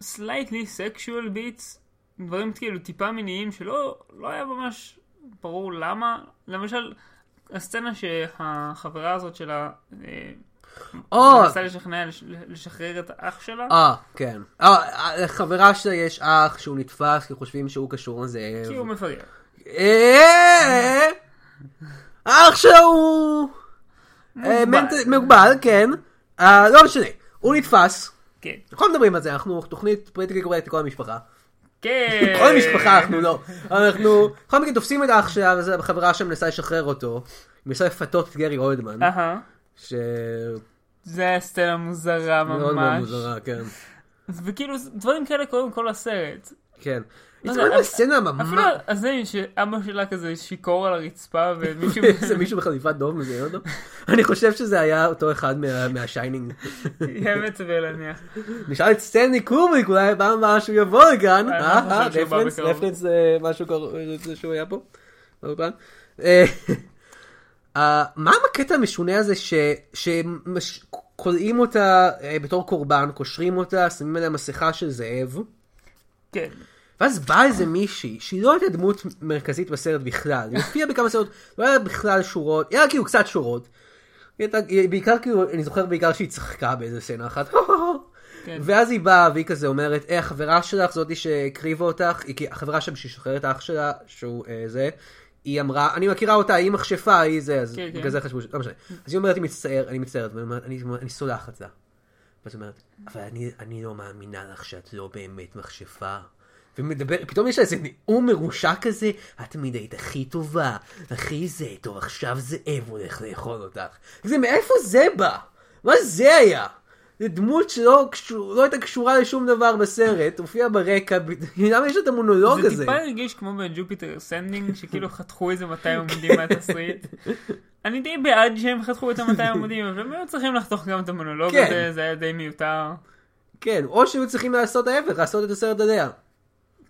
סלייטלי סקשואל ביטס, דברים כאילו טיפה מיניים שלא לא היה ממש ברור למה. למשל, הסצנה שהחברה הזאת שלה... אה,
או,
מנסה לשכנע לש- לשחרר את האח שלה.
אה, כן. אה, לחברה שלה יש אח שהוא נתפס כי חושבים שהוא קשור לזאב.
כי הוא מפגר.
אה, אח שלו הוא אה, מנט- מוגבל, כן. אה, לא משנה, הוא נתפס.
כן.
אנחנו לא מדברים על זה, אנחנו תוכנית פוליטיקלי קורקט לכל המשפחה.
כן.
*laughs* כל המשפחה אנחנו לא. אנחנו בכל מקרה תופסים את האח שלה, וזו החברה שמנסה לשחרר אותו. היא מנסה לפתות את גרי אולדמן,
כן. אהה.
שמאוד
זה היה סצנה מוזרה
מאוד
ממש.
מוזרה, כן.
וכאילו זה- דברים כאלה קורים כל הסרט.
כן.
לא
יש
יודע, אבל-
בסצנה ממש...
אפילו הזה שאבא שלה כזה שיכור על
*laughs*
הרצפה ומישהו...
איזה מישהו בחליפת דוב מזיין אותו? אני חושב שזה היה אותו אחד מה- מהשיינינג.
*laughs* האמת סביר להניח.
נשאל את סטנלי קובריק, אולי פעם הבאה שהוא יבוא לכאן.
אני לא
אה,
חושב
אה,
שהוא בא
רפרנס,
בקרוב.
רפרנס אה, משהו קרוב, אה, זה שהוא היה פה. באולפן. אה, *laughs* אה, מה עם הקטע המשונה הזה שכולאים אותה אה, בתור קורבן, קושרים אותה, שמים עליה מסכה של זאב,
כן.
ואז באה איזה מישהי, שהיא לא הייתה דמות מרכזית בסרט בכלל, היא הופיעה בכמה סרט, לא היה בכלל שורות, היה כאילו קצת שורות. היא הייתה, היא בעיקר כאילו, אני זוכר בעיקר שהיא צחקה באיזה סצנה אחת.
כן.
ואז היא באה והיא כזה אומרת, אה, החברה שלך, זאתי שהקריבה אותך, היא, כי החברה שם ששחררת את האח שלה, שהוא אה, זה, היא אמרה, אני מכירה אותה, היא מכשפה, היא זה, אז
כן, כן.
בגלל זה חשבו, ש- לא משנה. אז היא אומרת, היא מצטערת, אני מצטערת, ואני אומרת, "אני- אני סולחת לה. ואז אומרת, אבל אני, אני לא מאמינה לך שאת לא באמת מכשפה. ומדבר, פתאום יש לה איזה נאום מרושע כזה, את תמיד היית הכי טובה, הכי זה, טוב עכשיו זאב הולך לאכול אותך. זה מאיפה זה בא? מה זה היה? זה דמות שלא קשור, לא הייתה קשורה לשום דבר בסרט, הופיעה ברקע, ב- למה יש לה את המונולוג הזה?
זה טיפה הרגיש כמו
*laughs*
בג'ופיטר סנדינג, שכאילו חתכו איזה 200 עמודים מהתסריט. אני די בעד שהם חתכו את ה-200 עמודים, אבל הם היו צריכים לחתוך גם את המונולוג
כן.
הזה, זה היה די מיותר.
כן, או שהיו צריכים לעשות ההפך, לעשות את הסרט עליה. *laughs*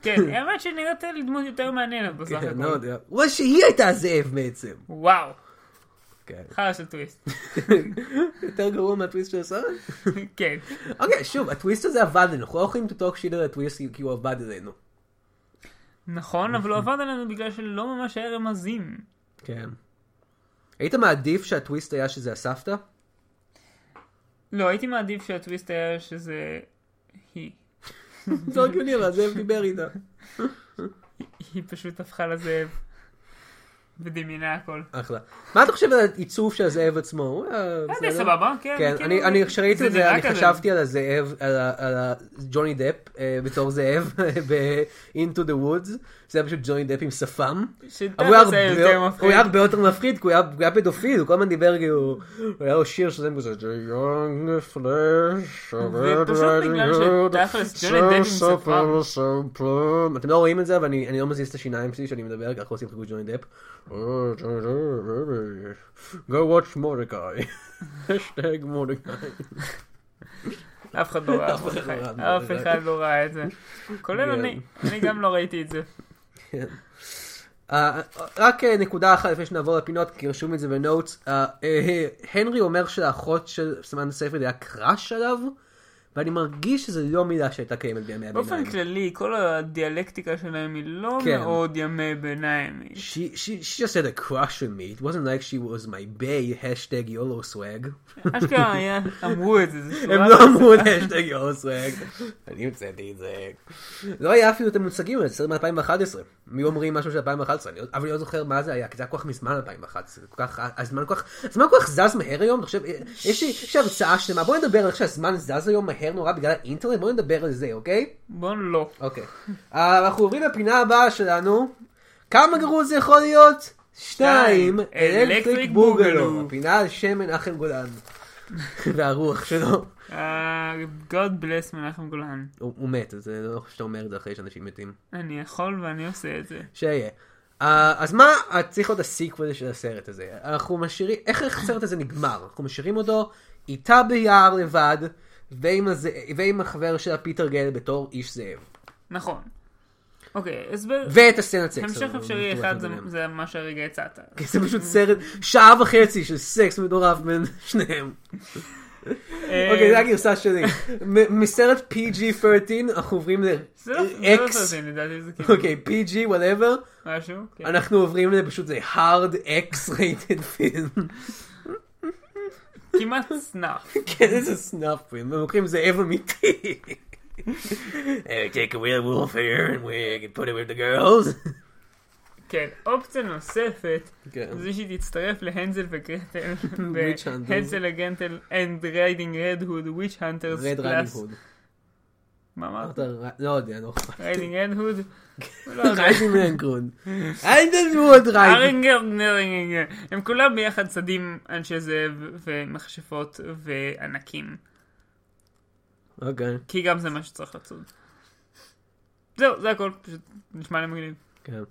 כן, האמת שנראית לי דמות יותר מעניינת בסך
כן, לא
הכל.
יודע. אולי שהיא הייתה הזאב בעצם.
וואו,
כן.
חרא של טוויסט.
*laughs*
*laughs*
יותר גרוע מהטוויסט של הסרט?
כן.
אוקיי, שוב, הטוויסט הזה עבד עלינו, אנחנו לא יכולים to talk shit על הטוויסט כי הוא כאילו, עבד עלינו.
נכון, אבל הוא עבד עלינו בגלל שלא ממש היה רמזים.
כן. היית מעדיף שהטוויסט היה שזה הסבתא?
לא, הייתי מעדיף שהטוויסט היה שזה... היא.
זה לא הגיוני, אבל הזאב דיבר איתה.
היא פשוט הפכה לזאב. ודמיינה הכל.
אחלה. מה אתה חושב על העיצוב של הזאב עצמו? הוא היה
זה
בסדר?
סבבה, כן.
כן,
כאילו,
אני- אני, כשראיתי את זה,
נראה
אני
כזה.
חשבתי על הזאב, על ה- על ה- ג'וני דפ אה, בתור זאב *laughs* ב-Into the Woods, זה היה פשוט ג'וני דפ עם שפם.
שתכלס
אבל הוא היה
היה
הרבה-
יותר
הוא היה
מפחיד.
הרבה יותר מפחיד, כי הוא היה- הוא היה פדופיל, הוא כל הזמן דיבר כאילו, הוא היה לו שיר שזה כזה, The young flesh of
ופשוט
red riding
בגלל
hood,
שתכלס, ג'וני דפ עם
so
שפם.
supple, so plump." אתם לא רואים את זה, אבל אני אני לא מזיז את השיניים שלי כשאני מדבר, ככה עושים חיקוי ג'וני דפ. "Oh, Johnny Depp, Go watch מורדכאי. השטג מורדכאי.
אף אחד לא ראה
אף אחד לא ראה, לא
את זה. אף
ראה.
אחד לא ראה את זה. כולל
כן.
אני. אני גם לא
*laughs*
ראיתי את זה.
כן. אה, רק אה, נקודה אחת לפני שנעבור לפינות, כי רשום את זה בנוטס. אה, אה, הנרי אומר שלאחות של סמנדה סייפריד היה קראש עליו, ואני מרגיש שזו לא מילה שהייתה קיימת בימי
באופן
הביניים.
כללי, כל הדיאלקטיקה שלהם היא לא
כן.
מאוד ימי ביניים. היא-
She, she, she just had a crush on me. It wasn't like she was my bae, hashtag YOLO swag.
אשכרה *laughs* היה- אמרו את זה, זה
הם
שורה.
לא אמרו את השטג YOLO swag. אני המצאתי את זה. לא היה אפילו את המוצגים האלה, זה סרט מ-2011. מי אומרים משהו של 2011? אני לא- אבל אני לא זוכר מה זה היה, כי זה היה כל כך מזמן 2011. כל כך, הזמן כל כך, הזמן כל כך זז מהר היום, אתה חושב, יש לי יש לי הרצאה שלמה, בוא נדבר על איך שהזמן זז היום מהר נורא בגלל האינטרנט, בוא נדבר על זה, אוקיי?
בוא לא.
אוקיי. אה, אנחנו עוברים לפינה הבאה שלנו. כמה גרוע זה יכול להיות? שתיים, אלקטריק
Electric
בוגלו.
Boogaloo.
הפינה על שם מנחם גולן. והרוח שלו.
אה, God bless מנחם גולן.
הוא הוא מת, אז אני לא חושב שאתה אומר את זה אחרי שאנשים מתים.
אני יכול ואני עושה את זה.
שיהיה. אה, אז מה אה, צריך להיות הסיקוול של הסרט הזה? אנחנו משאירים, איך איך הסרט הזה נגמר? אנחנו משאירים אותו איתה ביער לבד, ועם, הזה, ועם החבר שלה פיטר גל בתור איש זאב.
נכון. אוקיי, הסבר.
ואת הסצנת סקס.
המשך
הזו,
אפשרי
מטורפת
אחד זה-
ביניהם.
זה מה שהרגע הצעת.
כי זה פשוט סרט, שעה וחצי של סקס מטורף בין שניהם. *laughs*
אה.
אוקיי, זו הגרסה שלי. מ- מסרט PG-13 אנחנו עוברים
זה לא זה לא
ל-X,
סרטים, לדעתי זה כאילו
אוקיי, PG, whatever.
משהו. כן.
אנחנו עוברים לפשוט זה hard x-rated film. *laughs*
כמעט סנאף.
כן, איזה סנאפים, הם לוקחים זאב אמיתי. Hey, take a real wolf here and we can put it with the girls.
כן. אופציה
*laughs*
נוספת
כן.
זה שהיא תצטרף להנזל
*laughs*
וגרטל.
Witch Hunters.
הנזל הגנטל and ריידינג רד הוד וויץ' הנטרס
רד ריינינג הוד.
מה אמרת?
אמרת, לא יודע, לא אכפת.
ריידינג רד הוד?
*laughs*
לא יודע.
ריינינג ריינינג הוד. אל תדברו עוד ריינינג.
ארינגר, נרינגר. הם כולם ביחד צדים אנשי זאב ומכשפות וענקים.
אוקיי,
כי גם זה מה שצריך לצוד. זהו, זה הכל, פשוט נשמע לי מגניב.
כן.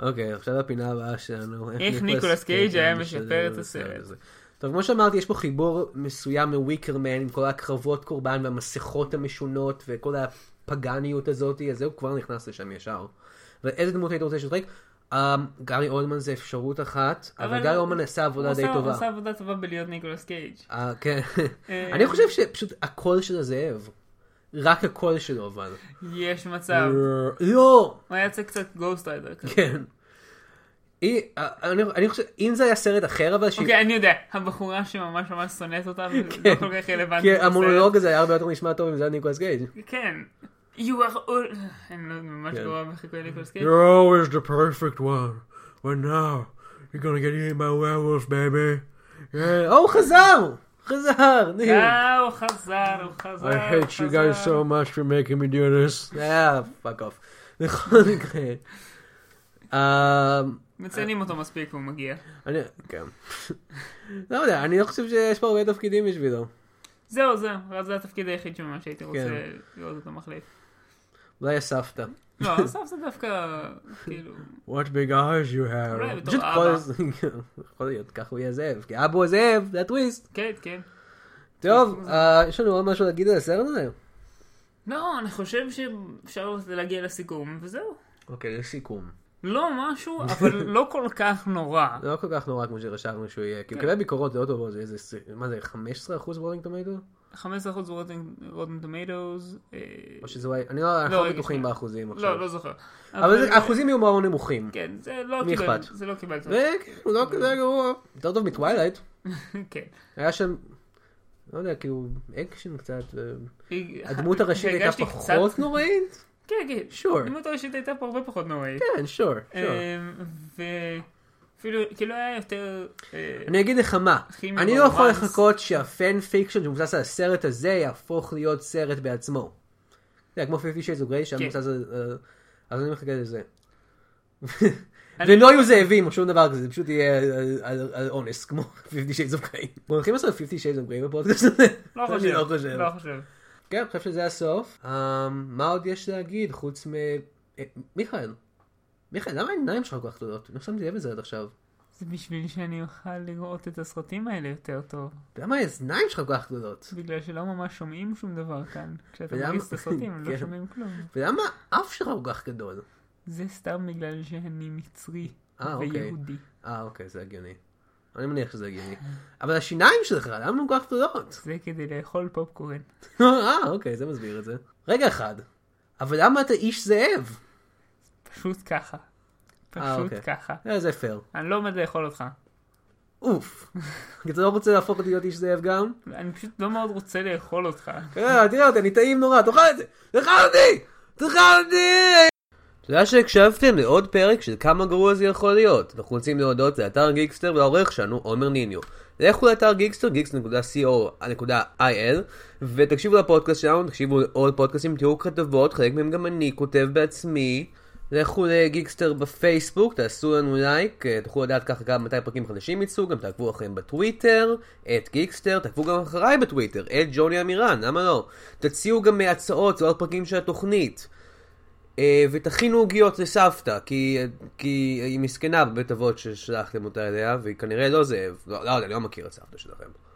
אוקיי, עכשיו הפינה הבאה שלנו.
איך ניקולס קייג' היה
משלב
משפר את
בסרט
הסרט.
הזה. טוב, כמו שאמרתי, יש פה חיבור מסוים מוויקרמן, עם כל הקרבות קורבן והמסכות המשונות וכל הפגניות הזאת, אז זהו, כבר נכנס לשם ישר. ואיזה דמות היית רוצה שתשחק? Um, גארי אולמן זה אפשרות אחת, אבל,
אבל
גארי
הוא-
אולמן עשה עבודה די
הוא עשה- הוא
טובה.
עשה עבודה טובה בלהיות ניקולס קייג'.
אה, כן.
אה,
אני חושב שפשוט הקול של הזאב. רק הקול שלו אבל.
יש מצב.
לא!
הוא היה צריך קצת גוסט ריידר כזה.
כן. היא, אה, אני, אני חושב, אם זה היה סרט אחר אבל, שהיא-
אוקיי, אני יודע, הבחורה שממש ממש שונאת אותה, זה לא כל כך רלוונטי.
כן. כי
לסרט.
המונולוג הזה היה הרבה יותר נשמע טוב אם זה היה ניקולס גייג'.
כן. You are all... אני לא ממש
כן.
גרוע בחיקוי ניקולס קייג'.
You're always the perfect one, but now you're gonna get eaten by werewolves, baby. Yeah. Oh, הוא חזר! חזר! ניר.
אה, הוא חזר, הוא חזר,
I
הוא
hate you
חזר.
guys so much for making me do this. Yeah, fuck off. *laughs* בכל מקרה. אמ,
מציינים אותו מספיק והוא מגיע.
אני... כן. *laughs* לא יודע, אני לא חושב שיש פה הרבה תפקידים בשבילו.
זהו, זהו, אבל זה התפקיד היחיד שממש הייתי רוצה
כן.
לראות אותו מחליף.
אולי הסבתא. *laughs*
לא, הסוף זה דווקא, כאילו,
What big eyes you have.
אולי בתור
פשוט
אבא.
כל הזמן, *laughs* יכול להיות, ככה הוא יהיה זאב. כי אבו זאב, זה הטוויסט.
כן, כן.
טוב, אה, יש לנו עוד משהו להגיד על הסרט הזה?
לא, אני חושב שאפשר להגיע לסיכום, וזהו.
אוקיי, יש סיכום.
לא
*laughs*
משהו, אבל לא כל כך נורא.
זה לא כל כך נורא כמו שרשמנו שהוא
כן.
יהיה, כי הוא קיבל ביקורות לא טובות, זה איזה, ס- מה זה, 15% בולינג טומטו?
15% רוטן טומטוס. אה,
או שזה אולי, אני לא, אנחנו לא
רגע,
בטוחים
שנייה.
באחוזים עכשיו.
לא, לא זוכר.
אבל זה- האחוזים יהיו מאוד נמוכים.
כן, זה לא
מי
קיבל,
אכפת?
זה לא קיבל. טוב.
וכן, הוא לא כזה גרוע. יותר טוב מטווילייט.
*laughs* כן.
היה שם, לא יודע, כאילו, אקשן קצת. ו-
היא-
הדמות הראשית
הרגשתי
הייתה
קצת-
פחות נוראית?
כן, כן.
Sure.
הדמות הראשית הייתה פה הרבה פחות נוראית.
כן, שור, שור.
אמ, ואפילו, כאילו היה יותר... אה,
אני אגיד לך מה,
כימי
אני לא יכול
רומנס.
לחכות שהפן פיקשן שמבוסס על הסרט הזה יהפוך להיות סרט בעצמו. זה כמו 50 Shades of Grey שהיה
כן.
מבוסס על... אה, אז אני מחכה לזה. ולא יהיו זאבים או שום דבר כזה, זה פשוט יהיה על- על- על אונס, כמו *laughs* 50 Shades of Grey. אנחנו הולכים לעשות 50 Shades of Grey בפודקאסט הזה?
לא
*laughs* אני
חושב.
לא חושב.
לא חושב.
כן, אני חושב שזה הסוף. אמ, מה עוד יש להגיד חוץ מ... אה, מיכאל, מיכאל, למה העיניים שלך כל כך גדולות? לא שמתי לב לזה עד עכשיו.
זה בשביל שאני אוכל לראות את הסרטים האלה יותר טוב.
למה האוזניים שלך כל כך גדולות?
בגלל שלא ממש שומעים שום דבר כאן. כשאתה
ולמה-
מגיס
*laughs*
את הסרטים, לא
כן.
שומעים כלום.
ולמה האף שלך כל כך גדול?
זה סתם בגלל שאני מצרי
אה, אוקיי.
ויהודי.
אה, אוקיי, זה הגיוני. אני מניח שזה הגיוני. אבל השיניים שלך, למה הן כל כך גדולות?
זה כדי לאכול פופקורן.
אה, אוקיי, זה מסביר את זה. רגע אחד, אבל למה אתה איש זאב?
פשוט ככה.
אה,
פשוט
אוקיי.
ככה.
אה, זה פייר.
אני לא עומד לאכול אותך.
אוף. *laughs* כי אתה לא רוצה להפוך אותי להיות איש זאב גם?
אני פשוט לא מאוד רוצה לאכול אותך.
אה, תראה אותי, אני טעים נורא, תאכל את זה! תאכל אותי! תאכל אותי! תודה שהקשבתם לעוד פרק של כמה גרוע זה יכול להיות. אנחנו רוצים להודות לאתר גיקסטר ולעורך שלנו, עומר ניניו. לכו לאתר גיקסטר, geeks.co.il, ותקשיבו לפודקאסט שלנו, תקשיבו לעוד פודקאסטים, תראו כתבות, חלק מהם גם אני כותב בעצמי. לכו לגיקסטר בפייסבוק, תעשו לנו לייק, אה, תוכלו לדעת ככה גם מתי פרקים חדשים יצאו, גם תעקבו אחריהם בטוויטר, את גיקסטר, תעקבו גם אחריי בטוויטר, את ג'וני אמירן, למה לא? תציעו גם אה, הצעות לעוד פרקים של התוכנית. אה, ותכינו עוגיות לסבתא, כי, כי היא מסכנה בבית אבות ששלחתם אותה אליה, והיא כנראה לא זאב. לא, לא יודע, אני לא מכיר את סבתא שלכם.